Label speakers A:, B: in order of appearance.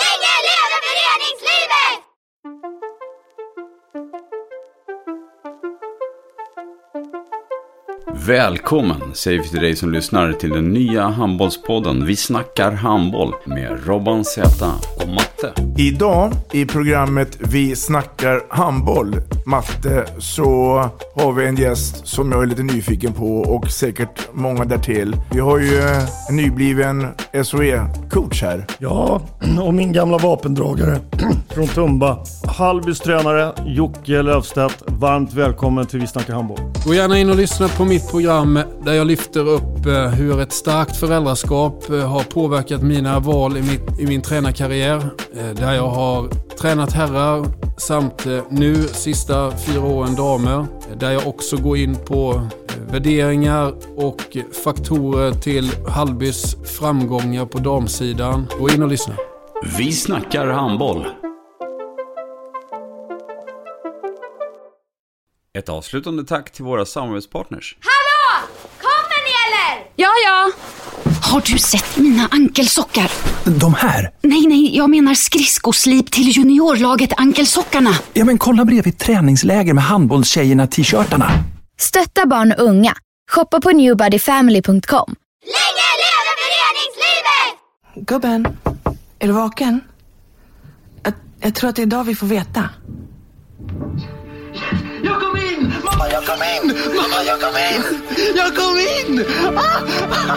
A: Länge leve föreningslivet!
B: Välkommen säger vi till dig som lyssnar till den nya handbollspodden Vi snackar handboll med Robban Z och Matte.
C: Idag i programmet Vi snackar handboll, Matte, så har vi en gäst som jag är lite nyfiken på och säkert många därtill. Vi har ju en nybliven SOE-coach här.
D: Ja, och min gamla vapendragare från Tumba. Hallbys tränare Jocke Löfstedt. Varmt välkommen till Vi snackar handboll.
E: Gå gärna in och lyssna på mitt program där jag lyfter upp eh, hur ett starkt föräldraskap eh, har påverkat mina val i, mitt, i min tränarkarriär. Eh, Där jag har tränat herrar samt eh, nu sista fyra åren damer. Eh, Där jag också går in på eh, värderingar och faktorer till Hallbys framgångar på damsidan. Gå in och lyssna.
B: Vi snackar handboll. Ett avslutande tack till våra samarbetspartners.
A: Hallå! Kommer ni eller?
F: Ja, ja. Har du sett mina ankelsockar?
G: De här?
F: Nej, nej, jag menar skridskoslip till juniorlaget Ankelsockarna.
G: Ja, men kolla bredvid träningsläger med handbollstjejerna-t-shirtarna.
H: Stötta barn och unga. Shoppa på newbodyfamily.com.
A: Länge leve föreningslivet!
I: Gubben, är du vaken? Jag, jag tror att det är idag vi får veta.
J: Jag kom in! Mamma, jag kom in! Mamma, jag kom in! Jag kom in! Ah!